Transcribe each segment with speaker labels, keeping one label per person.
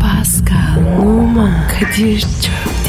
Speaker 1: Pascal, Oman, Kadir çok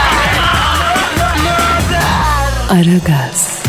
Speaker 1: Aragaz,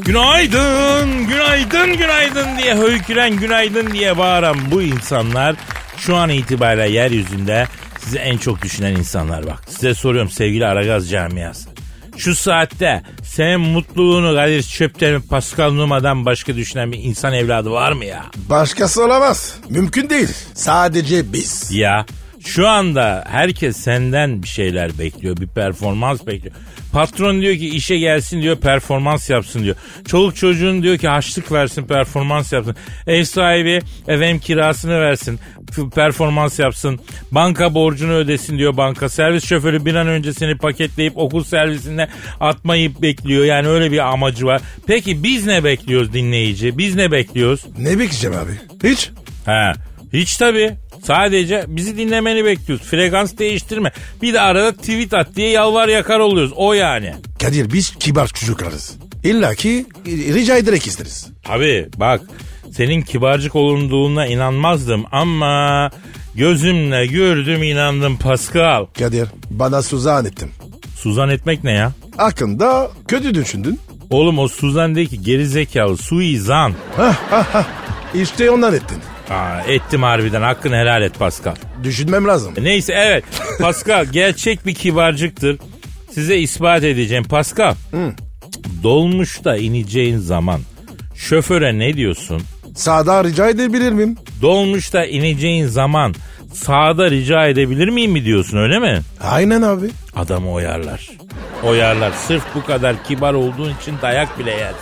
Speaker 2: Günaydın, günaydın, günaydın diye höyküren, günaydın diye bağıran bu insanlar şu an itibariyle yeryüzünde sizi en çok düşünen insanlar bak. Size soruyorum sevgili Aragaz camiası. Şu saatte senin mutluluğunu Kadir Çöpten, Pascal Numa'dan başka düşünen bir insan evladı var mı ya?
Speaker 3: Başkası olamaz. Mümkün değil. Sadece biz.
Speaker 2: Ya şu anda herkes senden bir şeyler bekliyor. Bir performans bekliyor. Patron diyor ki işe gelsin diyor performans yapsın diyor. Çoluk çocuğun diyor ki haçlık versin performans yapsın. Ev sahibi efendim kirasını versin f- performans yapsın. Banka borcunu ödesin diyor banka. Servis şoförü bir an önce seni paketleyip okul servisine atmayı bekliyor. Yani öyle bir amacı var. Peki biz ne bekliyoruz dinleyici? Biz ne bekliyoruz?
Speaker 3: Ne bekleyeceğim abi? Hiç.
Speaker 2: He. Hiç tabii. Sadece bizi dinlemeni bekliyoruz. Frekans değiştirme. Bir de arada tweet at diye yalvar yakar oluyoruz. O yani.
Speaker 3: Kadir biz kibar çocuklarız. İlla ki rica ederek isteriz.
Speaker 2: Abi bak senin kibarcık olunduğuna inanmazdım ama gözümle gördüm inandım Pascal.
Speaker 3: Kadir bana suzan ettin.
Speaker 2: Suzan etmek ne ya?
Speaker 3: Hakkında kötü düşündün.
Speaker 2: Oğlum o Suzan değil ki geri zekalı suizan.
Speaker 3: İşte ondan ettin.
Speaker 2: Aa, ettim harbiden hakkını helal et Pascal.
Speaker 3: Düşünmem lazım.
Speaker 2: Neyse evet. Pascal gerçek bir kibarcıktır. Size ispat edeceğim. Pascal. Dolmuşta ineceğin zaman şoföre ne diyorsun?
Speaker 3: Sağdan rica edebilir miyim?
Speaker 2: Dolmuşta ineceğin zaman sağda rica edebilir miyim mi diyorsun öyle mi?
Speaker 3: Aynen abi.
Speaker 2: Adamı oyarlar. Oyarlar. Sırf bu kadar kibar olduğun için dayak bile yersin.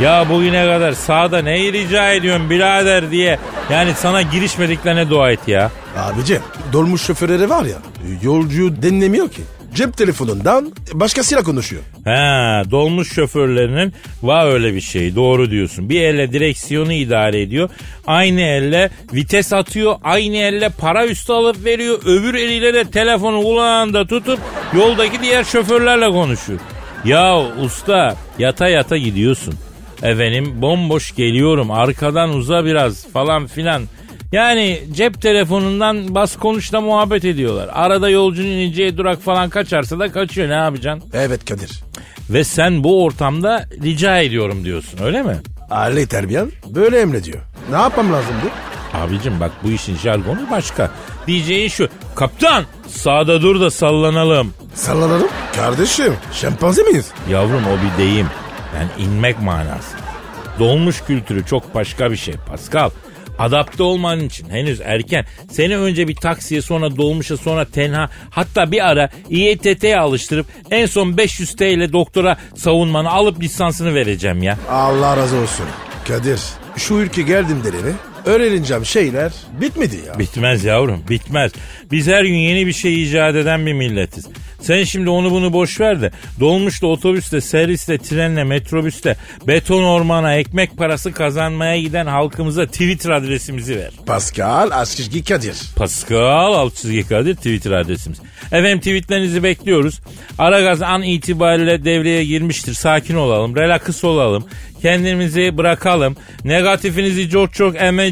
Speaker 2: Ya bugüne kadar sağda neyi rica ediyorsun birader diye. Yani sana girişmediklerine dua et ya.
Speaker 3: Abicim dolmuş şoförleri var ya yolcuyu dinlemiyor ki. Cep telefonundan başkasıyla konuşuyor.
Speaker 2: Ha, dolmuş şoförlerinin var öyle bir şey doğru diyorsun. Bir elle direksiyonu idare ediyor. Aynı elle vites atıyor. Aynı elle para üstü alıp veriyor. Öbür eliyle de telefonu kulağında tutup yoldaki diğer şoförlerle konuşuyor. Ya usta yata yata gidiyorsun. Efendim bomboş geliyorum arkadan uza biraz falan filan. Yani cep telefonundan bas konuşla muhabbet ediyorlar. Arada yolcunun ineceği durak falan kaçarsa da kaçıyor ne yapacaksın?
Speaker 3: Evet Kadir.
Speaker 2: Ve sen bu ortamda rica ediyorum diyorsun öyle mi?
Speaker 3: Aile terbiyen böyle emrediyor. Ne yapmam lazımdı?
Speaker 2: Abicim bak bu işin jargonu başka. Diyeceğin şu. Kaptan sağda dur da sallanalım.
Speaker 3: Sallanalım. Kardeşim şempanze miyiz?
Speaker 2: Yavrum o bir deyim. Yani inmek manası. Dolmuş kültürü çok başka bir şey Pascal. Adapte olman için henüz erken. Seni önce bir taksiye sonra dolmuşa sonra tenha hatta bir ara İETT'ye alıştırıp en son 500 TL ile doktora savunmanı alıp lisansını vereceğim ya.
Speaker 3: Allah razı olsun. Kadir şu ülke geldim dereni öğreneceğim şeyler bitmedi ya.
Speaker 2: Bitmez yavrum bitmez. Biz her gün yeni bir şey icat eden bir milletiz. Sen şimdi onu bunu boş ver de dolmuşla otobüsle servisle trenle metrobüsle beton ormana ekmek parası kazanmaya giden halkımıza Twitter adresimizi ver.
Speaker 3: Pascal Askizgi Kadir.
Speaker 2: Pascal alt çizgi Kadir Twitter adresimiz. Efendim tweetlerinizi bekliyoruz. Aragaz an itibariyle devreye girmiştir. Sakin olalım, relax olalım. Kendimizi bırakalım. Negatifinizi çok çok emecek.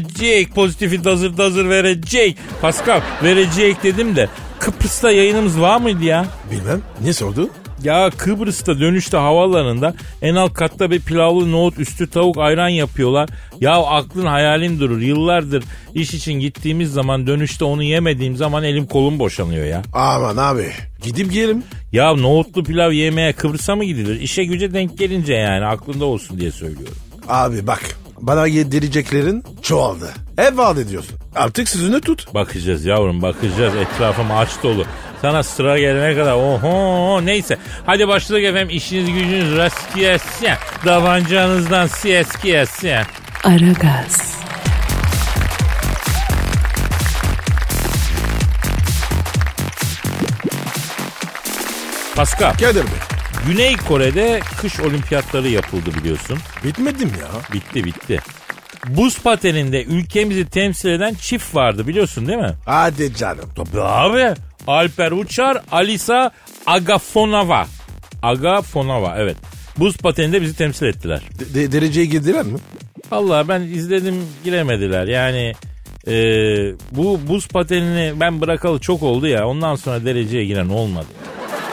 Speaker 2: Pozitifi dazır dazır verecek. Pascal verecek dedim de Kıbrıs'ta yayınımız var mıydı ya?
Speaker 3: Bilmem ne sordu?
Speaker 2: Ya Kıbrıs'ta dönüşte havalarında en alt katta bir pilavlı nohut üstü tavuk ayran yapıyorlar. Ya aklın hayalin durur. Yıllardır iş için gittiğimiz zaman dönüşte onu yemediğim zaman elim kolum boşanıyor ya.
Speaker 3: Aman abi gidip gelelim.
Speaker 2: Ya nohutlu pilav yemeye Kıbrıs'a mı gidilir? İşe güce denk gelince yani aklında olsun diye söylüyorum.
Speaker 3: Abi bak bana yedireceklerin çoğaldı. Hep vaat ediyorsun. Artık sözünü tut.
Speaker 2: Bakacağız yavrum bakacağız etrafım aç dolu. Sana sıra gelene kadar oho neyse. Hadi başladık efendim işiniz gücünüz rast gelsin. Davancanızdan siyes gelsin.
Speaker 1: Aragaz,
Speaker 2: Pascal,
Speaker 3: Kadir Bey.
Speaker 2: Güney Kore'de kış olimpiyatları yapıldı biliyorsun.
Speaker 3: Bitmedim ya.
Speaker 2: Bitti bitti. Buz pateninde ülkemizi temsil eden çift vardı biliyorsun değil mi?
Speaker 3: Hadi canım.
Speaker 2: Tabii abi. Alper Uçar, Alisa Agafonova. Agafonova evet. Buz pateninde bizi temsil ettiler.
Speaker 3: De- de- dereceye girdiler mi?
Speaker 2: Allah ben izledim giremediler. Yani e, bu buz patenini ben bırakalı çok oldu ya. Ondan sonra dereceye giren olmadı.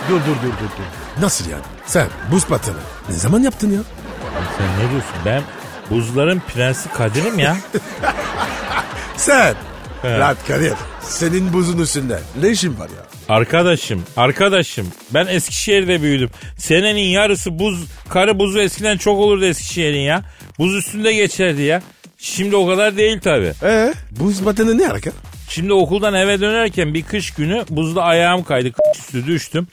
Speaker 3: Dur dur dur dur. dur. Nasıl yani? Sen buz pateni. Ne zaman yaptın ya?
Speaker 2: Sen ne diyorsun? Ben buzların prensi Kadir'im ya.
Speaker 3: Sen. Lan Kadir. Senin buzun üstünde. Ne işin var ya?
Speaker 2: Arkadaşım, arkadaşım. Ben Eskişehir'de büyüdüm. Senenin yarısı buz, karı buzu eskiden çok olurdu Eskişehir'in ya. Buz üstünde geçerdi ya. Şimdi o kadar değil tabi.
Speaker 3: Ee, buz pateni ne hareket?
Speaker 2: Şimdi okuldan eve dönerken bir kış günü buzda ayağım kaydı. k- üstü düştüm.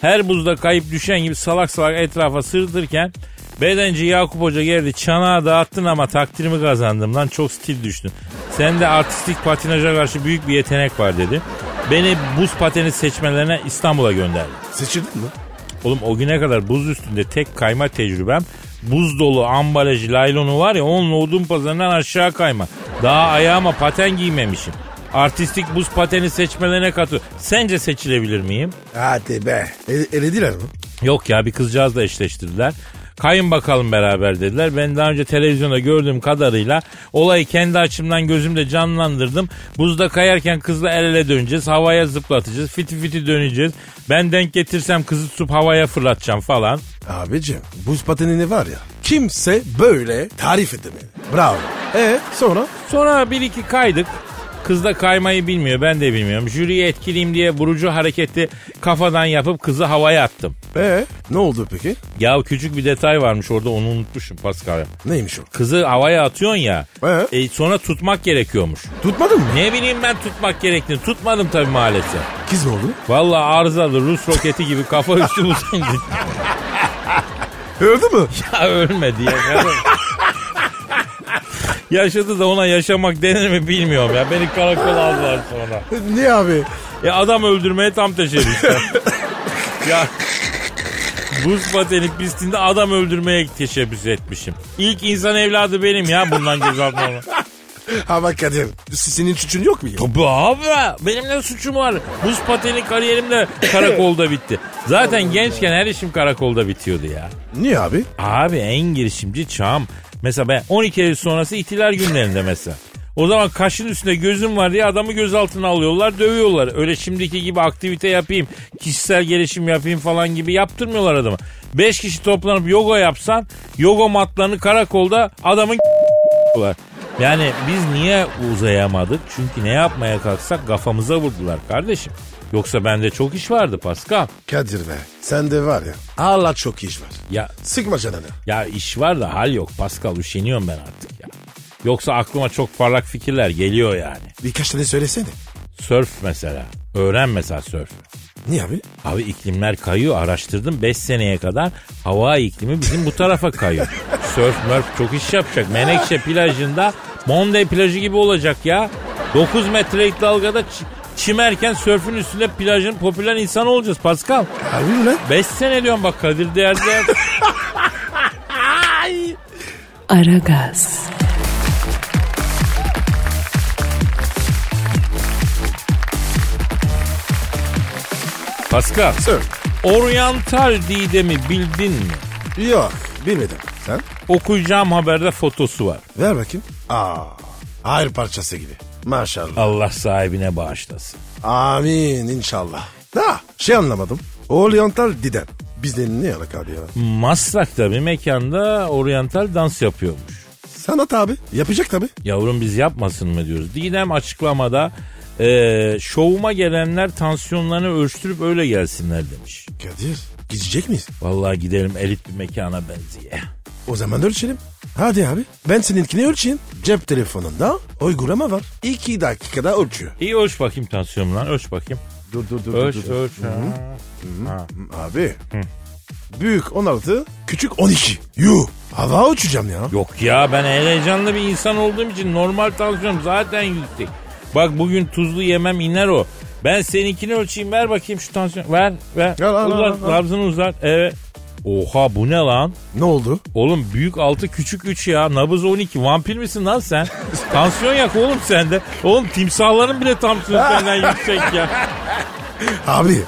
Speaker 2: Her buzda kayıp düşen gibi salak salak etrafa sırtırken bedenci Yakup Hoca geldi. Çanağı dağıttın ama takdirimi kazandım lan çok stil düştün. Sende artistik patinaja karşı büyük bir yetenek var dedi. Beni buz pateni seçmelerine İstanbul'a gönderdi.
Speaker 3: Seçildin mi?
Speaker 2: Oğlum o güne kadar buz üstünde tek kayma tecrübem buz dolu ambalajı laylonu var ya onunla odun pazarından aşağı kayma. Daha ayağıma paten giymemişim. Artistik buz pateni seçmelerine katı. Sence seçilebilir miyim?
Speaker 3: Hadi be. E- elediler mi?
Speaker 2: Yok ya bir kızcağızla eşleştirdiler. Kayın bakalım beraber dediler. Ben daha önce televizyonda gördüğüm kadarıyla olayı kendi açımdan gözümde canlandırdım. Buzda kayarken kızla el ele döneceğiz. Havaya zıplatacağız. Fiti fiti döneceğiz. Ben denk getirsem kızı tutup havaya fırlatacağım falan.
Speaker 3: Abicim buz patenini var ya. Kimse böyle tarif edemedi. Bravo. E sonra?
Speaker 2: Sonra bir iki kaydık. Kız da kaymayı bilmiyor ben de bilmiyorum. Jüriyi etkileyim diye vurucu hareketi kafadan yapıp kızı havaya attım.
Speaker 3: E ne oldu peki?
Speaker 2: Ya küçük bir detay varmış orada onu unutmuşum Pascal.
Speaker 3: Neymiş o?
Speaker 2: Kızı havaya atıyorsun ya.
Speaker 3: Ee?
Speaker 2: E, sonra tutmak gerekiyormuş.
Speaker 3: Tutmadın mı?
Speaker 2: Ne bileyim ben tutmak gerektiğini tutmadım tabii maalesef.
Speaker 3: Kız mı oldu?
Speaker 2: Vallahi arızalı Rus roketi gibi kafa üstü uzandı.
Speaker 3: Öldü mü?
Speaker 2: ya ölmedi ya. Yaşadı da ona yaşamak denir mi bilmiyorum ya. Beni karakola aldılar sonra.
Speaker 3: Niye abi?
Speaker 2: Ya adam öldürmeye tam teşebbüs. ya buz pateni pistinde adam öldürmeye teşebbüs etmişim. İlk insan evladı benim ya bundan cezalandırma.
Speaker 3: Ama Kadir senin suçun yok mu? ya?
Speaker 2: Tabii abi benim ne suçum var? Buz pateni kariyerim de karakolda bitti. Zaten gençken her işim karakolda bitiyordu ya.
Speaker 3: Niye abi?
Speaker 2: Abi en girişimci çağım. Mesela ben 12 Eylül sonrası ihtilal günlerinde mesela. O zaman kaşın üstünde gözüm var diye adamı gözaltına alıyorlar, dövüyorlar. Öyle şimdiki gibi aktivite yapayım, kişisel gelişim yapayım falan gibi yaptırmıyorlar adamı. 5 kişi toplanıp yoga yapsan, yoga matlarını karakolda adamın var. Yani biz niye uzayamadık? Çünkü ne yapmaya kalksak kafamıza vurdular kardeşim. Yoksa bende çok iş vardı Pascal.
Speaker 3: Kadir be sende var ya Allah çok iş var.
Speaker 2: Ya
Speaker 3: Sıkma canını.
Speaker 2: Ya iş var da hal yok Pascal üşeniyorum ben artık ya. Yoksa aklıma çok parlak fikirler geliyor yani.
Speaker 3: Birkaç tane söylesene.
Speaker 2: Sörf mesela. Öğren mesela sörf.
Speaker 3: Niye abi?
Speaker 2: Abi iklimler kayıyor araştırdım 5 seneye kadar hava iklimi bizim bu tarafa kayıyor. Sörf mörf çok iş yapacak. Menekşe plajında Monday plajı gibi olacak ya. 9 metrelik dalgada çi- çimerken sörfün üstünde plajın popüler insanı olacağız Pascal.
Speaker 3: Harbi mi lan?
Speaker 2: 5 sene diyorum bak Kadir Değer Değer.
Speaker 1: Aragaz,
Speaker 2: Pascal.
Speaker 3: Sir.
Speaker 2: Oryantal Didem'i bildin mi?
Speaker 3: Yok bilmedim. Sen?
Speaker 2: Okuyacağım haberde fotosu var.
Speaker 3: Ver bakayım. Aa, hayır parçası gibi. Maşallah.
Speaker 2: Allah sahibine bağışlasın.
Speaker 3: Amin inşallah. Da şey anlamadım. Oriental didem. Bizde ne alaka abi ya?
Speaker 2: Maslak'ta bir mekanda oryantal dans yapıyormuş.
Speaker 3: Sanat abi. Yapacak tabi.
Speaker 2: Yavrum biz yapmasın mı diyoruz. Didem açıklamada eee şovuma gelenler tansiyonlarını ölçtürüp öyle gelsinler demiş.
Speaker 3: Kadir. Gidecek miyiz?
Speaker 2: Vallahi gidelim elit bir mekana benziye.
Speaker 3: O zaman ölçelim. Hadi abi. Ben seninkini ölçeyim. Cep telefonunda uygulama var. İki dakikada ölçüyor.
Speaker 2: İyi ölç bakayım tansiyonumu lan ölç bakayım.
Speaker 3: Dur dur dur.
Speaker 2: Ölç ölç.
Speaker 3: Abi. Büyük 16, küçük 12. Yuh. Hava uçacağım ya.
Speaker 2: Yok ya ben heyecanlı bir insan olduğum için normal tansiyonum zaten yüksek. Bak bugün tuzlu yemem iner o. Ben seninkini ölçeyim ver bakayım şu tansiyon. Ver ver.
Speaker 3: Al, al, al,
Speaker 2: uzat
Speaker 3: al.
Speaker 2: nabzını uzat. Evet. Oha bu ne lan?
Speaker 3: Ne oldu?
Speaker 2: Oğlum büyük 6 küçük 3 ya. Nabız 12. Vampir misin lan sen? Tansiyon yak oğlum sende. Oğlum timsahların bile tansiyonu senden yüksek ya.
Speaker 3: Abi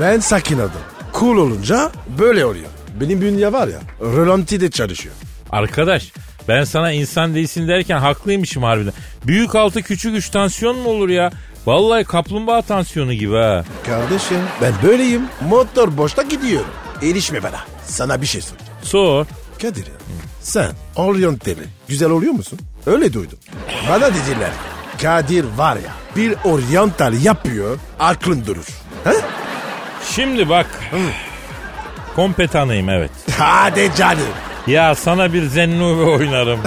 Speaker 3: ben sakin adam. Cool olunca böyle oluyor. Benim bünye var ya rölanti de çalışıyor.
Speaker 2: Arkadaş ben sana insan değilsin derken haklıymışım harbiden. Büyük 6 küçük 3 tansiyon mu olur ya? Vallahi kaplumbağa tansiyonu gibi ha.
Speaker 3: Kardeşim ben böyleyim. Motor boşta gidiyor. Erişme bana. Sana bir şey soracağım.
Speaker 2: Sor.
Speaker 3: Kadir ya, sen oryanteli güzel oluyor musun? Öyle duydum. Bana dediler Kadir var ya bir oryantal yapıyor aklın durur. He?
Speaker 2: Şimdi bak. Kompetanıyım evet.
Speaker 3: Hadi canım.
Speaker 2: Ya sana bir zennuve oynarım.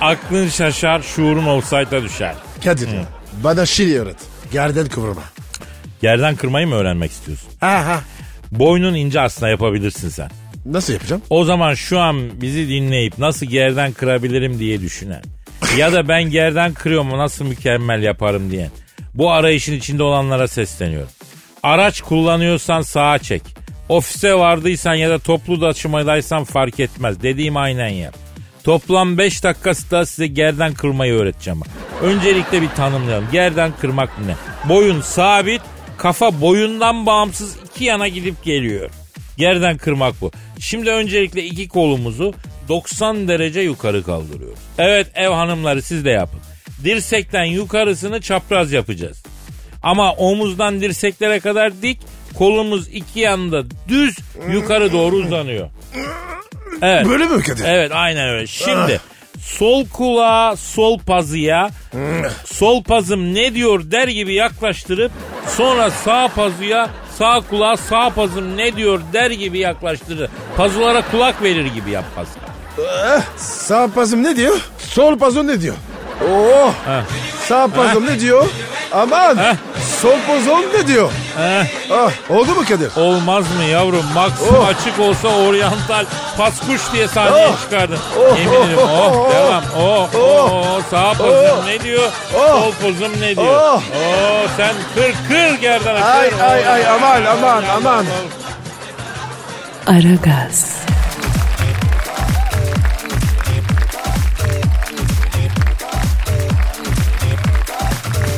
Speaker 2: Aklın şaşar, şuurun olsayda düşer.
Speaker 3: Kadir ya, bana şiir öğret. Gerden kıvırma.
Speaker 2: Yerden kırmayı mı öğrenmek istiyorsun?
Speaker 3: Aha.
Speaker 2: Boynun ince aslında yapabilirsin sen.
Speaker 3: Nasıl yapacağım?
Speaker 2: O zaman şu an bizi dinleyip nasıl gerden kırabilirim diye düşünen. ya da ben gerden kırıyorum nasıl mükemmel yaparım diyen. Bu arayışın içinde olanlara sesleniyorum. Araç kullanıyorsan sağa çek. Ofise vardıysan ya da toplu taşımadaysan fark etmez. Dediğim aynen yap. Toplam 5 dakikası da size gerden kırmayı öğreteceğim. bak. Öncelikle bir tanımlayalım. Gerden kırmak ne? Boyun sabit, kafa boyundan bağımsız iki yana gidip geliyor. Yerden kırmak bu. Şimdi öncelikle iki kolumuzu 90 derece yukarı kaldırıyoruz. Evet ev hanımları siz de yapın. Dirsekten yukarısını çapraz yapacağız. Ama omuzdan dirseklere kadar dik, kolumuz iki yanda düz yukarı doğru uzanıyor. Evet.
Speaker 3: Böyle mi Kadir?
Speaker 2: Evet aynen öyle. Şimdi sol kulağa sol pazıya sol pazım ne diyor der gibi yaklaştırıp sonra sağ pazuya sağ kulağa sağ pazım ne diyor der gibi yaklaştırır. Pazulara kulak verir gibi yap Pascal.
Speaker 3: Sağ pasım ne diyor? Sol pasım ne diyor? Oo. Sağ pasım ne diyor? Aman. Sol pasım ne diyor? Ah, oldu mu Kadir?
Speaker 2: Olmaz mı yavrum? Maksim
Speaker 3: Oh.
Speaker 2: açık olsa oryantal paskuş diye sahneye
Speaker 3: Oh.
Speaker 2: çıkardın.
Speaker 3: Oh.
Speaker 2: Yemin ederim oh,
Speaker 3: Oh.
Speaker 2: devam. Oh, oh, oh. sağ pozum
Speaker 3: Oh.
Speaker 2: ne diyor?
Speaker 3: Oh.
Speaker 2: Sol pozum ne diyor? Oh.
Speaker 3: Oh.
Speaker 2: sen kır kır gerdan
Speaker 3: Ay ay ay aman aman aman.
Speaker 1: Aragaz,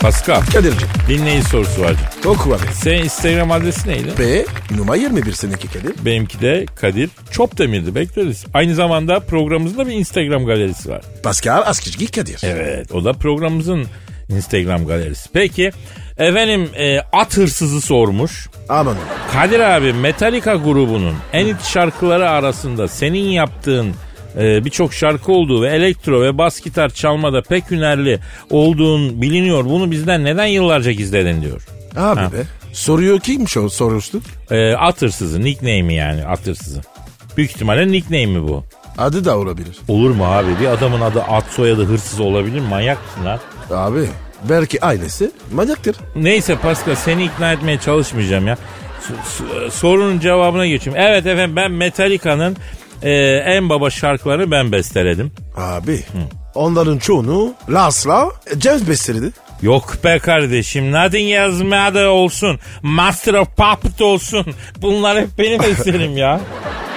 Speaker 2: Pascal
Speaker 3: Kadir'cim
Speaker 2: dinleyici sorusu var.
Speaker 3: oku abi.
Speaker 2: Senin Instagram adresi neydi?
Speaker 3: B numara 21 seninki Kadir.
Speaker 2: Benimki de Kadir Çopdemir'di bekleriz. Aynı zamanda programımızın da bir Instagram galerisi var.
Speaker 3: Pascal Askizgi Kadir.
Speaker 2: Evet o da programımızın Instagram galerisi. Peki efendim e, at hırsızı sormuş.
Speaker 3: Aman.
Speaker 2: Kadir abi Metallica grubunun en it şarkıları arasında senin yaptığın e, birçok şarkı olduğu ve elektro ve bas gitar çalmada pek hünerli olduğun biliniyor. Bunu bizden neden yıllarca gizledin diyor.
Speaker 3: Abi
Speaker 2: Ha.
Speaker 3: be. Soruyor kimmiş o sorusu?
Speaker 2: E, at hırsızı nickname'i yani at hırsızı. Büyük ihtimalle nickname'i bu.
Speaker 3: Adı da olabilir.
Speaker 2: Olur mu abi? Bir adamın adı at soyadı hırsız olabilir mi? Manyak mısın lan?
Speaker 3: Abi belki ailesi manyaktır.
Speaker 2: Neyse Pascal seni ikna etmeye çalışmayacağım ya. S- s- sorunun cevabına geçeyim. Evet efendim ben Metallica'nın e, en baba şarkılarını ben besteledim.
Speaker 3: Abi onların çoğunu Lasla James besteledi.
Speaker 2: Yok be kardeşim Nothing yazmadı olsun. Master of Puppet olsun. Bunlar hep benim eserim ya.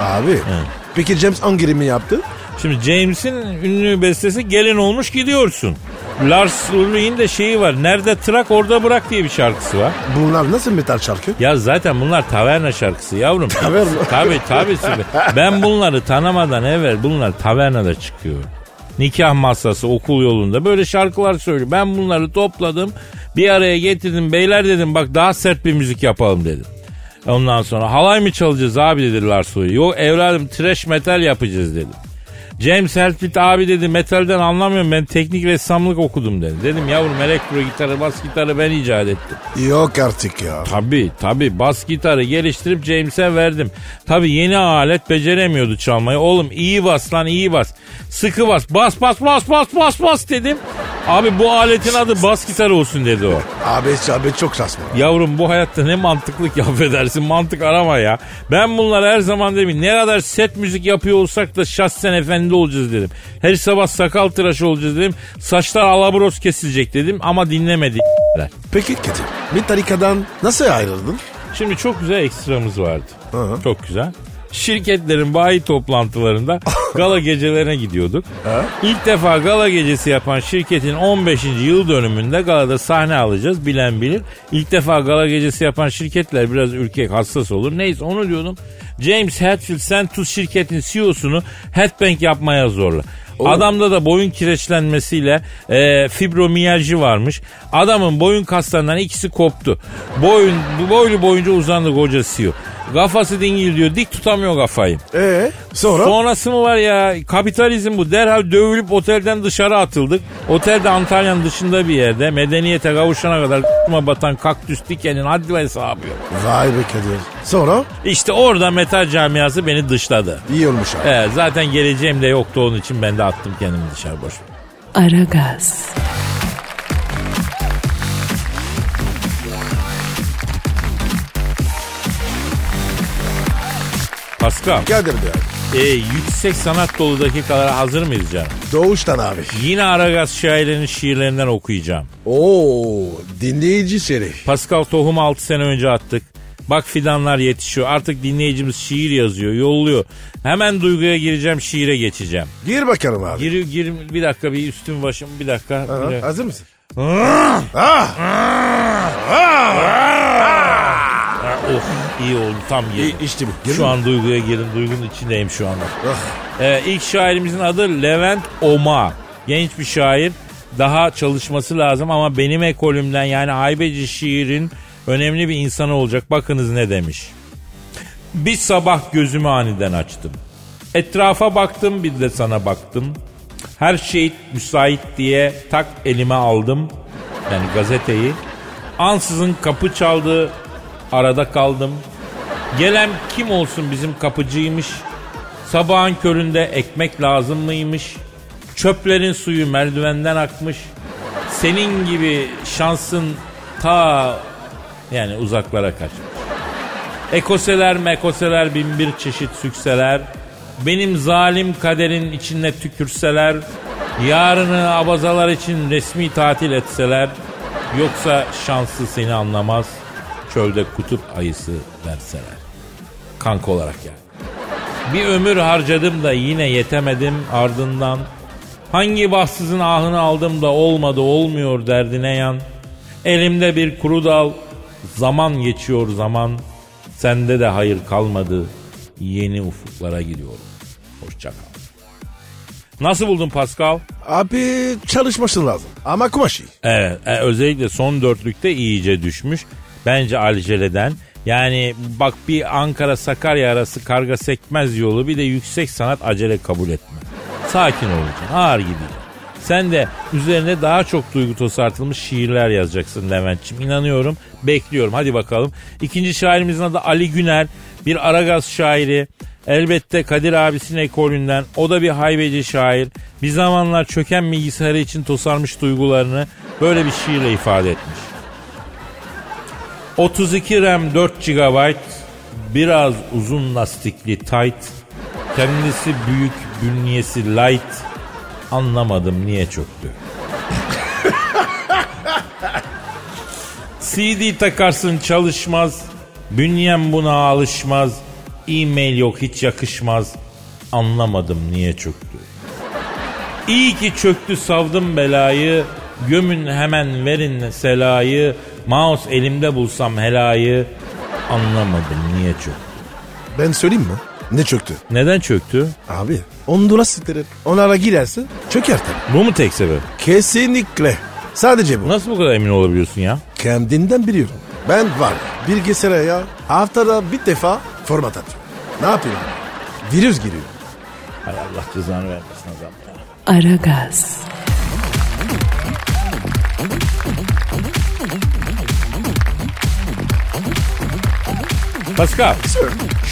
Speaker 3: Abi. Peki James hangi mi yaptı?
Speaker 2: Şimdi James'in ünlü bestesi Gelin Olmuş Gidiyorsun. Lars Ulrich'in de şeyi var. Nerede trak orada bırak diye bir şarkısı var.
Speaker 3: Bunlar nasıl metal şarkı?
Speaker 2: Ya zaten bunlar taverna şarkısı yavrum.
Speaker 3: Taverna.
Speaker 2: Tabii tabii. ben bunları tanımadan evvel bunlar tavernada çıkıyor. Nikah masası okul yolunda böyle şarkılar söylüyor. Ben bunları topladım bir araya getirdim. Beyler dedim bak daha sert bir müzik yapalım dedim. Ondan sonra halay mı çalacağız abi dediler soyu. Yok evladım trash metal yapacağız dedim. James Hetfield abi dedi metalden anlamıyorum ben teknik ressamlık okudum dedi. Dedim yavrum elektro gitarı bas gitarı ben icat ettim.
Speaker 3: Yok artık ya.
Speaker 2: Tabi tabi bas gitarı geliştirip James'e verdim. Tabi yeni alet beceremiyordu çalmayı. Oğlum iyi bas lan iyi bas. Sıkı bas. Bas bas bas bas bas bas dedim. Abi bu aletin adı bas gitar olsun dedi o.
Speaker 3: Abi, abi çok saçma.
Speaker 2: Yavrum bu hayatta ne mantıklık ya affedersin mantık arama ya. Ben bunlara her zaman dedim ne kadar set müzik yapıyor olsak da şahsen efendi olacağız dedim. Her sabah sakal tıraşı olacağız dedim. Saçlar alabros kesilecek dedim ama dinlemedi.
Speaker 3: Peki Kadir bir tarikadan nasıl ayrıldın?
Speaker 2: Şimdi çok güzel ekstramız vardı.
Speaker 3: Hı.
Speaker 2: Çok güzel. Şirketlerin bayi toplantılarında gala gecelerine gidiyorduk. İlk defa gala gecesi yapan şirketin 15. yıl dönümünde galada sahne alacağız bilen bilir. İlk defa gala gecesi yapan şirketler biraz ürkek hassas olur. Neyse onu diyordum. James Hetfield Sentus şirketin CEO'sunu headbang yapmaya zorla. Adamda da boyun kireçlenmesiyle e, fibromiyalji varmış. Adamın boyun kaslarından ikisi koptu. Boyun boylu boyunca uzandı koca CEO. Kafası dingil diyor. Dik tutamıyor kafayı.
Speaker 3: Ee sonra?
Speaker 2: Sonrası mı var ya? Kapitalizm bu. Derhal dövülüp otelden dışarı atıldık. Otelde Antalya'nın dışında bir yerde medeniyete kavuşana kadar k***ma batan kaktüs dikenin haddi hesabı yok.
Speaker 3: Vay be Kadir. Sonra?
Speaker 2: İşte orada metal camiası beni dışladı.
Speaker 3: İyi olmuş abi.
Speaker 2: E, zaten geleceğim de yoktu onun için ben de attım kendimi dışarı boş. ver.
Speaker 1: Aragaz,
Speaker 2: Pascal.
Speaker 3: Kadir be abi.
Speaker 2: E, yüksek sanat dolu dakikalara hazır mıyız canım?
Speaker 3: Doğuştan abi.
Speaker 2: Yine Aragaz şairinin şiirlerinden okuyacağım.
Speaker 3: Oo dinleyici şerif.
Speaker 2: Pascal Tohum 6 sene önce attık. Bak fidanlar yetişiyor. Artık dinleyicimiz şiir yazıyor, yolluyor. Hemen duyguya gireceğim, şiire geçeceğim.
Speaker 3: Gir bakalım abi.
Speaker 2: Gir, gir bir dakika bir üstüm başım bir dakika.
Speaker 3: Ha,
Speaker 2: Bir dakika.
Speaker 3: hazır mısın?
Speaker 2: Of oh, iyi oldu tam girdim.
Speaker 3: İşte bu.
Speaker 2: Şu an duyguya girdim. Duygunun içindeyim şu anda. Ee,
Speaker 3: Ah,
Speaker 2: ilk şairimizin adı Levent Oma. Genç bir şair. Daha çalışması lazım ama benim ekolümden yani Haybeci şiirin önemli bir insanı olacak. Bakınız ne demiş. Bir sabah gözümü aniden açtım. Etrafa baktım bir de sana baktım. Her şey müsait diye tak elime aldım. Yani gazeteyi. Ansızın kapı çaldı. Arada kaldım. Gelen kim olsun bizim kapıcıymış. Sabahın köründe ekmek lazım mıymış? Çöplerin suyu merdivenden akmış. Senin gibi şansın ta yani uzaklara kaçmış. Ekoseler mekoseler bin bir çeşit sükseler. Benim zalim kaderin içinde tükürseler. Yarını abazalar için resmi tatil etseler. Yoksa şansı seni anlamaz. Çölde kutup ayısı verseler. Kanka olarak yani. Bir ömür harcadım da yine yetemedim ardından. Hangi bahtsızın ahını aldım da olmadı olmuyor derdine yan. Elimde bir kuru dal, zaman geçiyor zaman. Sende de hayır kalmadı, yeni ufuklara gidiyorum. Hoşça kal. Nasıl buldun Pascal?
Speaker 3: Abi çalışması lazım. Ama kumaşı.
Speaker 2: Evet, e, özellikle son dörtlükte iyice düşmüş. Bence Alcele'den. Yani bak bir Ankara Sakarya arası karga sekmez yolu bir de yüksek sanat acele kabul etme. Sakin olacaksın, ağır gideceksin. Sen de üzerine daha çok duygu tosartılmış şiirler yazacaksın Levent'ciğim. İnanıyorum, bekliyorum. Hadi bakalım. İkinci şairimizin adı Ali Güner. Bir Aragaz şairi. Elbette Kadir abisinin ekolünden o da bir haybeci şair. Bir zamanlar çöken bilgisayarı için tosarmış duygularını böyle bir şiirle ifade etmiş. 32 RAM 4 GB biraz uzun lastikli tight kendisi büyük bünyesi light anlamadım niye çöktü. CD takarsın çalışmaz. Bünyem buna alışmaz. E-mail yok hiç yakışmaz. Anlamadım niye çöktü. İyi ki çöktü savdım belayı. Gömün hemen verin selayı. Mouse elimde bulsam helayı. Anlamadım niye çöktü.
Speaker 3: Ben söyleyeyim mi? Ne çöktü?
Speaker 2: Neden çöktü?
Speaker 3: Abi Honduras siteleri. Onlara girersin çöker tabii.
Speaker 2: Bu mu tek sebep?
Speaker 3: Kesinlikle. Sadece bu.
Speaker 2: Nasıl bu kadar emin olabiliyorsun ya?
Speaker 3: Kendimden biliyorum. Ben var ya, bilgisayara ya haftada bir defa format atıyorum. Ne yapayım? Virüs giriyor.
Speaker 2: Hay Allah cezanı vermesin adam ya.
Speaker 1: Aragaz,
Speaker 2: Pascal.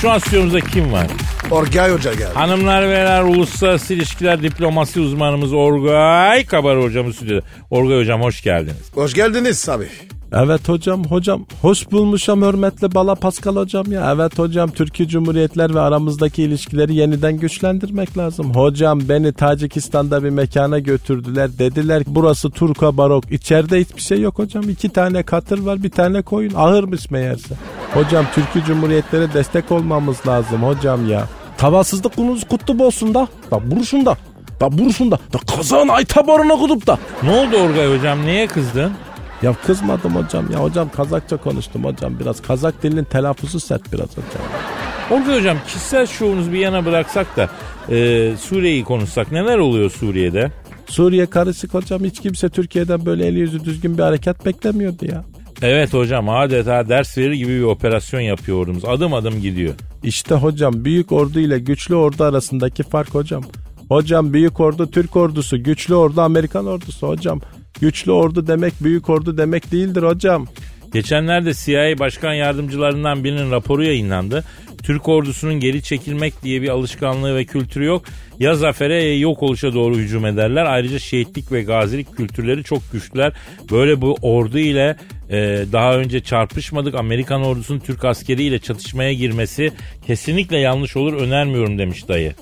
Speaker 2: Şu an stüdyomuzda kim var?
Speaker 3: Orgay Hoca geldi.
Speaker 2: Hanımlar beyler uluslararası ilişkiler diplomasi uzmanımız Orgay Kabar hocamız stüdyoda. Orgay hocam hoş geldiniz.
Speaker 3: Hoş geldiniz abi.
Speaker 4: Evet hocam hocam hoş bulmuşam hürmetli Bala Pascal hocam ya. Evet hocam Türkiye Cumhuriyetler ve aramızdaki ilişkileri yeniden güçlendirmek lazım. Hocam beni Tacikistan'da bir mekana götürdüler. Dediler ki, burası Turka Barok. İçeride hiçbir şey yok hocam. iki tane katır var bir tane koyun ağırmış meğerse. Hocam Türkiye Cumhuriyetlere destek olmamız lazım hocam ya. Tavasızlık kunuz kutlu olsun da. Da buruşun da. Da buruşun da. Da kazan ay tabarına kutup da.
Speaker 2: Ne oldu Orgay hocam neye kızdın?
Speaker 4: Ya kızmadım hocam ya hocam Kazakça konuştum hocam biraz Kazak dilinin telaffuzu sert biraz hocam.
Speaker 2: Orgay hocam kişisel şovunuzu bir yana bıraksak da e, Suriye'yi konuşsak neler oluyor Suriye'de?
Speaker 4: Suriye karışık hocam hiç kimse Türkiye'den böyle eli yüzü düzgün bir hareket beklemiyordu ya.
Speaker 2: Evet hocam adeta ders verir gibi bir operasyon yapıyor ordumuz. Adım adım gidiyor.
Speaker 4: İşte hocam büyük ordu ile güçlü ordu arasındaki fark hocam. Hocam büyük ordu Türk ordusu, güçlü ordu Amerikan ordusu hocam. Güçlü ordu demek büyük ordu demek değildir hocam.
Speaker 2: Geçenlerde CIA başkan yardımcılarından birinin raporu yayınlandı. Türk ordusunun geri çekilmek diye bir alışkanlığı ve kültürü yok. Ya zafere ya yok oluşa doğru hücum ederler. Ayrıca şehitlik ve gazilik kültürleri çok güçlüler. Böyle bu ordu ile e, daha önce çarpışmadık Amerikan ordusunun Türk askeriyle çatışmaya girmesi kesinlikle yanlış olur önermiyorum demiş dayı.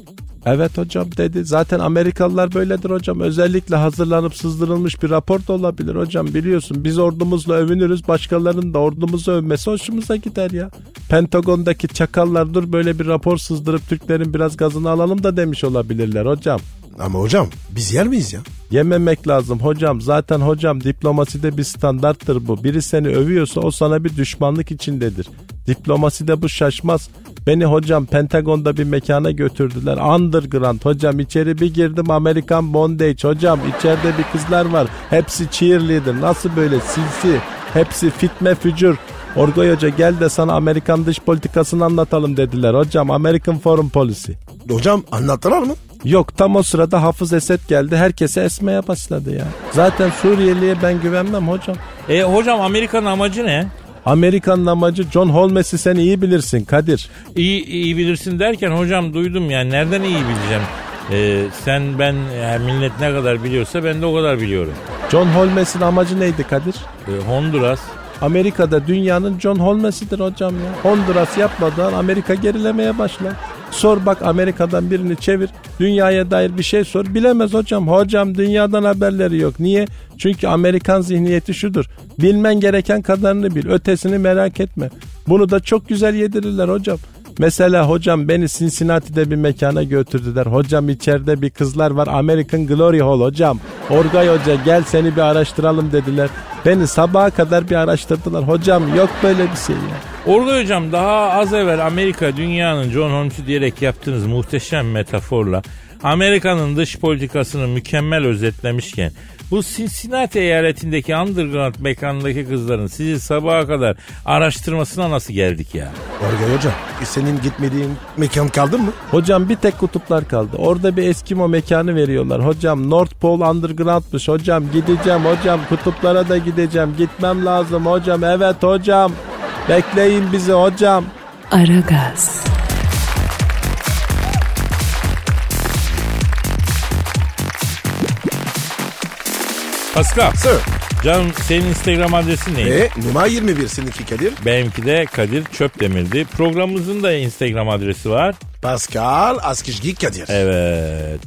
Speaker 4: Evet hocam dedi. Zaten Amerikalılar böyledir hocam. Özellikle hazırlanıp sızdırılmış bir rapor da olabilir hocam. Biliyorsun biz ordumuzla övünürüz. Başkalarının da ordumuzu övmesi hoşumuza gider ya. Pentagon'daki çakallar dur böyle bir rapor sızdırıp Türklerin biraz gazını alalım da demiş olabilirler hocam.
Speaker 3: Ama hocam biz yer miyiz ya?
Speaker 4: Yememek lazım hocam. Zaten hocam diplomaside bir standarttır bu. Biri seni övüyorsa o sana bir düşmanlık içindedir. Diplomaside bu şaşmaz. Beni hocam Pentagon'da bir mekana götürdüler. Underground hocam içeri bir girdim Amerikan Bondage hocam. içeride bir kızlar var. Hepsi cheerleader. Nasıl böyle sinsi. Hepsi fitme fücur. Orgoy Hoca gel de sana Amerikan dış politikasını anlatalım dediler. Hocam American Foreign Policy.
Speaker 3: Hocam anlattılar mı?
Speaker 4: Yok tam o sırada Hafız Esed geldi. Herkese esmeye başladı ya. Zaten Suriyeli'ye ben güvenmem hocam.
Speaker 2: E hocam Amerika'nın amacı ne?
Speaker 4: Amerikan'ın amacı John Holmes'i sen iyi bilirsin Kadir.
Speaker 2: İyi, iyi bilirsin derken hocam duydum yani nereden iyi bileceğim? E, sen ben e, millet ne kadar biliyorsa ben de o kadar biliyorum.
Speaker 4: John Holmes'in amacı neydi Kadir?
Speaker 2: E, Honduras.
Speaker 4: Amerika'da dünyanın John Holmes'idir hocam ya. Honduras yapmadan Amerika gerilemeye başlar. Sor bak Amerika'dan birini çevir. Dünyaya dair bir şey sor. Bilemez hocam. Hocam dünyadan haberleri yok. Niye? Çünkü Amerikan zihniyeti şudur. Bilmen gereken kadarını bil. Ötesini merak etme. Bunu da çok güzel yedirirler hocam. Mesela hocam beni Cincinnati'de bir mekana götürdüler. Hocam içeride bir kızlar var. American Glory Hall hocam. Orgay Hoca gel seni bir araştıralım dediler. Beni sabaha kadar bir araştırdılar. Hocam yok böyle bir şey ya.
Speaker 2: Orada hocam daha az evvel Amerika dünyanın John Holmes'u diyerek yaptığınız muhteşem metaforla Amerika'nın dış politikasını mükemmel özetlemişken bu Cincinnati eyaletindeki underground mekandaki kızların sizi sabaha kadar araştırmasına nasıl geldik ya?
Speaker 3: Orgay Hoca e, senin gitmediğin mekan kaldı mı?
Speaker 4: Hocam bir tek kutuplar kaldı. Orada bir Eskimo mekanı veriyorlar. Hocam North Pole Underground'mış. Hocam gideceğim hocam. Kutuplara da gideceğim. Gitmem lazım hocam. Evet hocam. Bekleyin bizi hocam.
Speaker 1: Aragaz.
Speaker 2: Pascal.
Speaker 3: Sir.
Speaker 2: Canım senin Instagram adresin neydi?
Speaker 3: E, numara 21 seninki Kadir.
Speaker 2: Benimki de Kadir Çöpdemir'di. Programımızın da Instagram adresi var.
Speaker 3: Pascal Askizgi Kadir.
Speaker 2: Evet.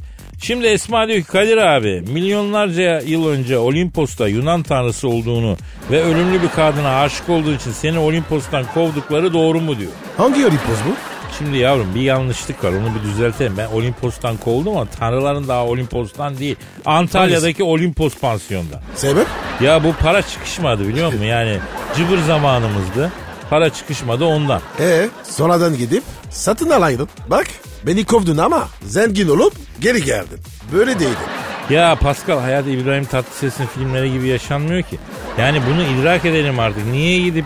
Speaker 2: Şimdi Esma diyor ki Kadir abi milyonlarca yıl önce Olimpos'ta Yunan tanrısı olduğunu ve ölümlü bir kadına aşık olduğu için seni Olimpos'tan kovdukları doğru mu diyor.
Speaker 3: Hangi Olympus bu?
Speaker 2: Şimdi yavrum bir yanlışlık var onu bir düzeltelim. Ben Olimpos'tan kovuldum ama tanrıların daha Olimpos'tan değil. Antalya'daki Olimpos pansiyonda.
Speaker 3: Sebep?
Speaker 2: Ya bu para çıkışmadı biliyor musun? Yani cıbır zamanımızdı. Para çıkışmadı ondan.
Speaker 3: E sonradan gidip satın alaydın. Bak beni kovdun ama zengin olup geri geldin. Böyle değildi.
Speaker 2: Ya Pascal hayat İbrahim Tatlıses'in filmleri gibi yaşanmıyor ki. Yani bunu idrak edelim artık. Niye gidip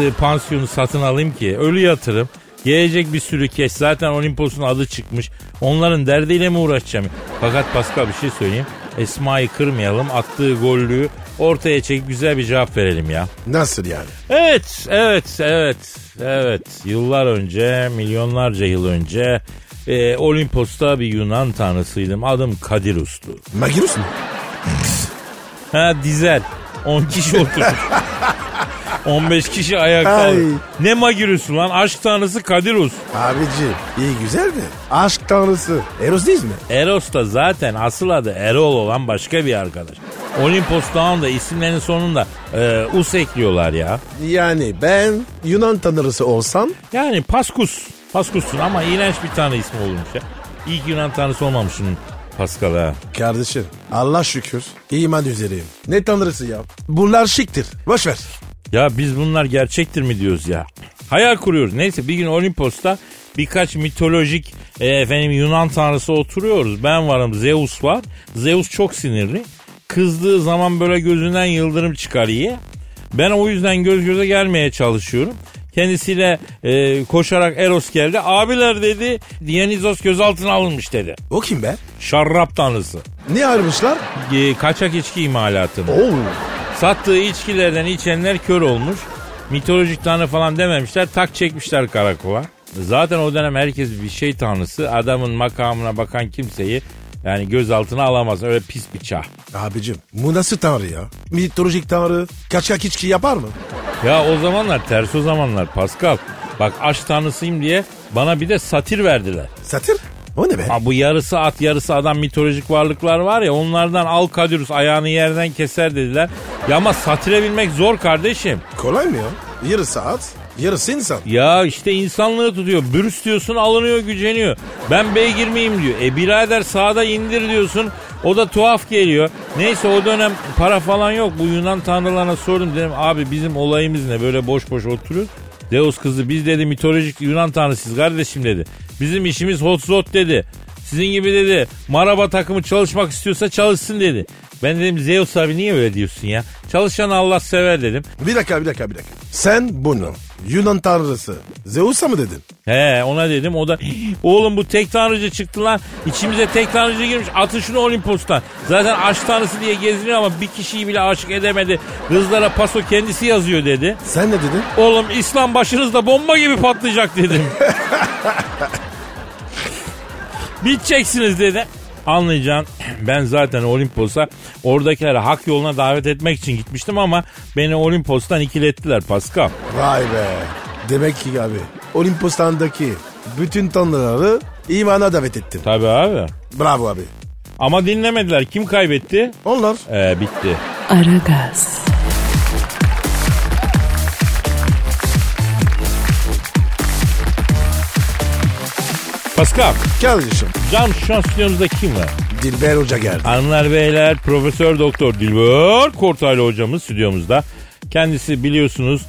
Speaker 2: e, pansiyonu satın alayım ki? Ölü yatırım. Gelecek bir sürü keş. Zaten Olimpos'un adı çıkmış. Onların derdiyle mi uğraşacağım? Fakat Pascal bir şey söyleyeyim. Esma'yı kırmayalım. Attığı gollüğü ortaya çekip güzel bir cevap verelim ya.
Speaker 3: Nasıl yani?
Speaker 2: Evet, evet, evet, evet. Yıllar önce, milyonlarca yıl önce e, Olimpos'ta bir Yunan tanrısıydım. Adım Kadirus'tu.
Speaker 3: Magirus mu?
Speaker 2: Ha dizel. 10 kişi oturur. 15 kişi ayakta.
Speaker 3: Ay.
Speaker 2: olur. Ne magirüsü lan? Aşk tanrısı Kadirus.
Speaker 3: Abici iyi güzel de aşk tanrısı Eros değil mi?
Speaker 2: Eros da zaten asıl adı Erol olan başka bir arkadaş. Olimpos Dağı'nda isimlerin sonunda e, us ekliyorlar ya.
Speaker 3: Yani ben Yunan tanrısı olsam
Speaker 2: Yani Paskus. Paskus'sun ama iğrenç bir tanrı ismi olmuş ya. İlk Yunan tanrısı olmamışsın Paskal'a.
Speaker 3: kardeşim Allah şükür iman üzereyim. Ne tanrısı ya? Bunlar şiktir. Boş ver.
Speaker 2: Ya biz bunlar gerçektir mi diyoruz ya? Hayal kuruyoruz. Neyse bir gün Olimpos'ta birkaç mitolojik e, efendim Yunan tanrısı oturuyoruz. Ben varım Zeus var. Zeus çok sinirli. Kızdığı zaman böyle gözünden yıldırım çıkar iyi. Ben o yüzden göz göze gelmeye çalışıyorum. Kendisiyle e, koşarak Eros geldi. Abiler dedi Dionysos gözaltına alınmış dedi.
Speaker 3: O kim be?
Speaker 2: Şarrap tanrısı.
Speaker 3: Ne armışlar?
Speaker 2: E, kaçak içki imalatını.
Speaker 3: Oo.
Speaker 2: Sattığı içkilerden içenler kör olmuş. Mitolojik tanrı falan dememişler. Tak çekmişler karakola. Zaten o dönem herkes bir şey tanrısı. Adamın makamına bakan kimseyi yani gözaltına alamaz. Öyle pis bir çağ.
Speaker 3: Abicim bu nasıl tanrı ya? Mitolojik tanrı kaçak içki yapar mı?
Speaker 2: Ya o zamanlar ters o zamanlar Pascal. Bak aşk tanrısıyım diye bana bir de satir verdiler.
Speaker 3: Satır? O ne be?
Speaker 2: Ha bu yarısı at yarısı adam mitolojik varlıklar var ya onlardan al Kadirus ayağını yerden keser dediler. Ya ama satire bilmek zor kardeşim.
Speaker 3: Kolay mı ya? Yarısı at, yarısı insan.
Speaker 2: Ya işte insanlığı tutuyor. Bürüs diyorsun alınıyor güceniyor. Ben beygir miyim diyor. E birader sağda indir diyorsun. O da tuhaf geliyor. Neyse o dönem para falan yok. Bu Yunan tanrılarına sordum. Dedim abi bizim olayımız ne böyle boş boş oturuyoruz. Deus kızı biz dedi mitolojik Yunan tanrısıyız kardeşim dedi. Bizim işimiz hot zot dedi. Sizin gibi dedi maraba takımı çalışmak istiyorsa çalışsın dedi. Ben dedim Zeus abi niye öyle diyorsun ya? Çalışan Allah sever dedim.
Speaker 3: Bir dakika, bir dakika, bir dakika. Sen bunu Yunan tanrısı Zeus'a mı dedin?
Speaker 2: He ona dedim o da oğlum bu tek tanrıcı çıktı lan içimize tek tanrıcı girmiş atın şunu Olimpos'tan. Zaten aşk tanrısı diye geziniyor ama bir kişiyi bile aşık edemedi. Kızlara paso kendisi yazıyor dedi.
Speaker 3: Sen ne dedin?
Speaker 2: Oğlum İslam başınızda bomba gibi patlayacak dedim. Biteceksiniz dedi. Anlayacaksın ben zaten Olimpos'a oradakileri hak yoluna davet etmek için gitmiştim ama beni Olimpos'tan ikilettiler Pascal.
Speaker 3: Vay be. Demek ki abi Olimpos'tandaki bütün tanrıları imana davet ettin.
Speaker 2: Tabii abi.
Speaker 3: Bravo abi.
Speaker 2: Ama dinlemediler. Kim kaybetti?
Speaker 3: Onlar
Speaker 2: Ee, bitti.
Speaker 1: Aragaz,
Speaker 2: Pascal,
Speaker 3: kardeşim.
Speaker 2: cam şans stüdyomuzda kim var?
Speaker 3: Dilber Hoca geldi.
Speaker 2: Anlar beyler, Profesör Doktor Dilber Kortaylı hocamız stüdyomuzda. Kendisi biliyorsunuz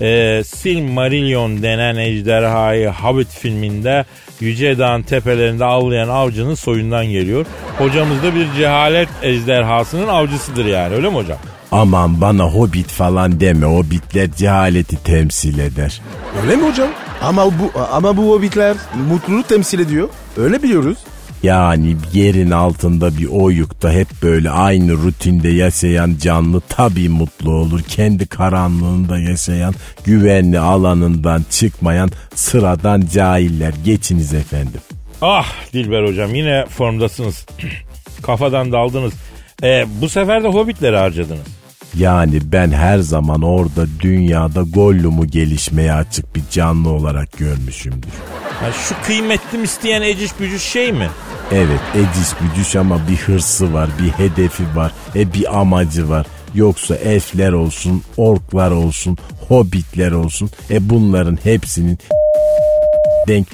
Speaker 2: e, Silmarillion denen ejderhayı Hobbit filminde Yüce Dağ'ın tepelerinde avlayan avcının soyundan geliyor. Hocamız da bir cehalet ejderhasının avcısıdır yani öyle mi hocam?
Speaker 5: Aman bana hobbit falan deme hobbitler cehaleti temsil eder.
Speaker 3: Öyle mi hocam? Ama bu ama bu hobbitler mutluluğu temsil ediyor. Öyle biliyoruz.
Speaker 5: Yani yerin altında bir oyukta hep böyle aynı rutinde yaşayan canlı tabii mutlu olur. Kendi karanlığında yaşayan, güvenli alanından çıkmayan sıradan cahiller. Geçiniz efendim.
Speaker 2: Ah Dilber hocam yine formdasınız. Kafadan daldınız. E, bu sefer de Hobbit'leri harcadınız.
Speaker 5: Yani ben her zaman orada dünyada Gollum'u gelişmeye açık bir canlı olarak görmüşümdür.
Speaker 2: Ya şu kıymetli isteyen eciş bücüş şey mi?
Speaker 5: Evet Edis Büdüş ama bir hırsı var, bir hedefi var, e bir amacı var. Yoksa elfler olsun, orklar olsun, hobbitler olsun. E bunların hepsinin denk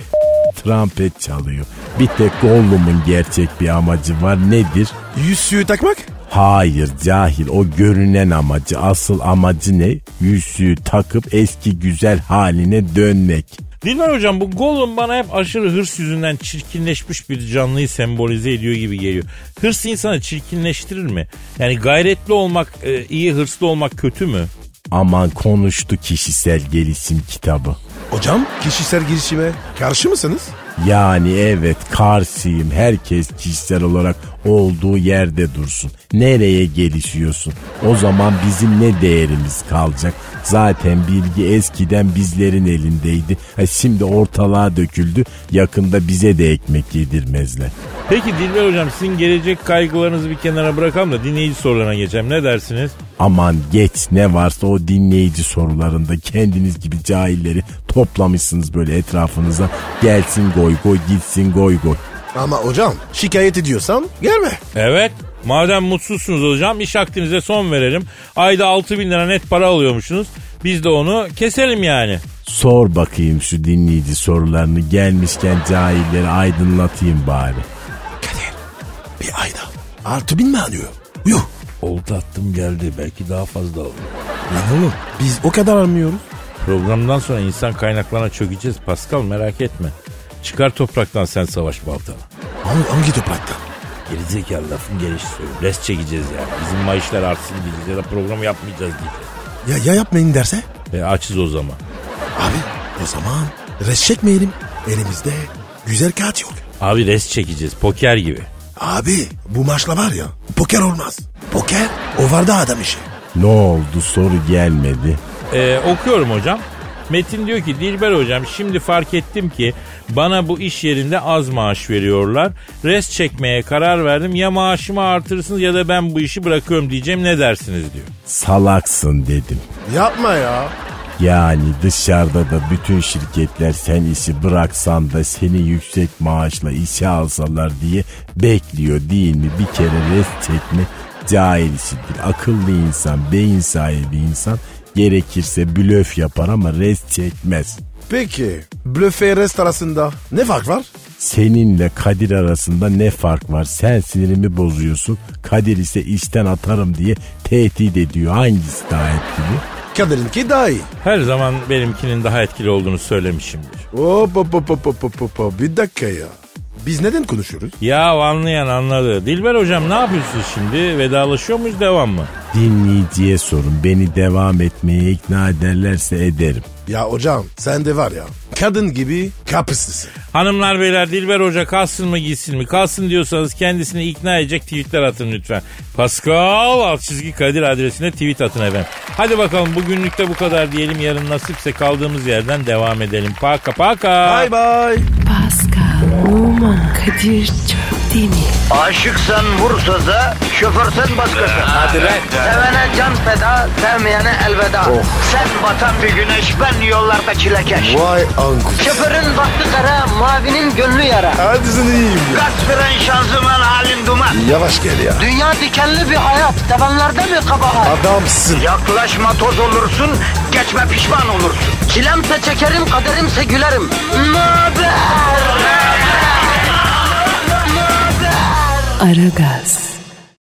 Speaker 5: trompet çalıyor. Bir tek Gollum'un gerçek bir amacı var. Nedir?
Speaker 3: Yüzüğü takmak?
Speaker 5: Hayır cahil o görünen amacı asıl amacı ne? Yüzüğü takıp eski güzel haline dönmek.
Speaker 2: Dilber hocam bu Gollum bana hep aşırı hırs yüzünden çirkinleşmiş bir canlıyı sembolize ediyor gibi geliyor. Hırs insanı çirkinleştirir mi? Yani gayretli olmak e, iyi, hırslı olmak kötü mü?
Speaker 5: Aman konuştu kişisel gelişim kitabı.
Speaker 3: Hocam kişisel girişime karşı mısınız?
Speaker 5: Yani Hani evet karşıyım herkes kişisel olarak olduğu yerde dursun. Nereye gelişiyorsun? O zaman bizim ne değerimiz kalacak? Zaten bilgi eskiden bizlerin elindeydi. Ha, şimdi ortalığa döküldü. Yakında bize de ekmek yedirmezler.
Speaker 2: Peki Dilber Hocam sizin gelecek kaygılarınızı bir kenara bırakalım da dinleyici sorularına geçelim. Ne dersiniz?
Speaker 5: Aman geç ne varsa o dinleyici sorularında kendiniz gibi cahilleri toplamışsınız böyle etrafınıza. Gelsin goy goy gitsin goy goy.
Speaker 3: Ama hocam şikayet ediyorsam gelme.
Speaker 2: Evet. Madem mutsuzsunuz hocam iş aktinize son verelim. Ayda 6 bin lira net para alıyormuşsunuz. Biz de onu keselim yani.
Speaker 5: Sor bakayım şu dinleyici sorularını gelmişken cahilleri aydınlatayım bari.
Speaker 3: Bir ayda artı bin mi alıyor? Yuh.
Speaker 2: Oldu attım geldi belki daha fazla olur.
Speaker 3: Lan oğlum biz o kadar almıyoruz.
Speaker 2: Programdan sonra insan kaynaklarına çökeceğiz Pascal merak etme. Çıkar topraktan sen savaş baltanı.
Speaker 3: Hangi, hangi toprakta?
Speaker 2: Gerizekalı lafın gelişi söylüyorum. Res çekeceğiz yani. Bizim maaşlar artsın diyeceğiz ya da program yapmayacağız diyeceğiz.
Speaker 3: Ya, ya yapmayın derse?
Speaker 2: Ve açız o zaman.
Speaker 3: Abi o zaman res çekmeyelim. Elimizde güzel kağıt yok.
Speaker 2: Abi res çekeceğiz poker gibi.
Speaker 3: Abi bu maçla var ya poker olmaz. Poker o vardı adam işi.
Speaker 5: Ne oldu soru gelmedi.
Speaker 2: Ee, okuyorum hocam. Metin diyor ki Dilber hocam şimdi fark ettim ki bana bu iş yerinde az maaş veriyorlar. Res çekmeye karar verdim. Ya maaşımı artırırsınız ya da ben bu işi bırakıyorum diyeceğim ne dersiniz diyor.
Speaker 5: Salaksın dedim.
Speaker 3: Yapma ya.
Speaker 5: Yani dışarıda da bütün şirketler sen işi bıraksan da seni yüksek maaşla işe alsalar diye bekliyor değil mi? Bir kere res çekme cahil işidir. Akıllı insan, beyin sahibi insan gerekirse blöf yapar ama res çekmez.
Speaker 3: Peki blöfe rest arasında ne fark var?
Speaker 5: Seninle Kadir arasında ne fark var? Sen sinirimi bozuyorsun. Kadir ise işten atarım diye tehdit ediyor. Hangisi daha etkili?
Speaker 3: Kadir'inki daha iyi.
Speaker 2: Her zaman benimkinin daha etkili olduğunu söylemişimdir.
Speaker 3: Hop hop hop hop hop hop hop hop. bir dakika ya. Biz neden konuşuyoruz?
Speaker 2: Ya anlayan anladı. Dilber hocam ne yapıyorsunuz şimdi? Vedalaşıyor muyuz devam mı?
Speaker 5: Dinleyiciye sorun. Beni devam etmeye ikna ederlerse ederim.
Speaker 3: Ya hocam sen de var ya kadın gibi kapısız.
Speaker 2: Hanımlar beyler Dilber Hoca kalsın mı gitsin mi? Kalsın diyorsanız kendisini ikna edecek tweetler atın lütfen. Pascal alt çizgi Kadir adresine tweet atın efendim. Hadi bakalım bugünlükte bu kadar diyelim. Yarın nasipse kaldığımız yerden devam edelim. Paka paka.
Speaker 3: Bye bye.
Speaker 1: Pascal, Oman, Kadir çok değil mi?
Speaker 6: Aşıksan vursa da, şoförsen başkasın. Hadi Sevene can feda, sevmeyene elveda. Sen batan bir güneş, ben yollarda çilekeş.
Speaker 3: Vay anku.
Speaker 6: Şoförün baktı kara, mavinin gönlü yara.
Speaker 3: Hadi sen iyiyim ya.
Speaker 6: Kasperen şanzıman halin duman.
Speaker 3: Yavaş gel ya.
Speaker 6: Dünya dikenli bir hayat, sevenlerde mi kabahar?
Speaker 3: Adamsın.
Speaker 6: Yaklaşma toz olursun, geçme pişman olursun. Çilemse çekerim, kaderimse gülerim. Möber!
Speaker 1: Aragaz.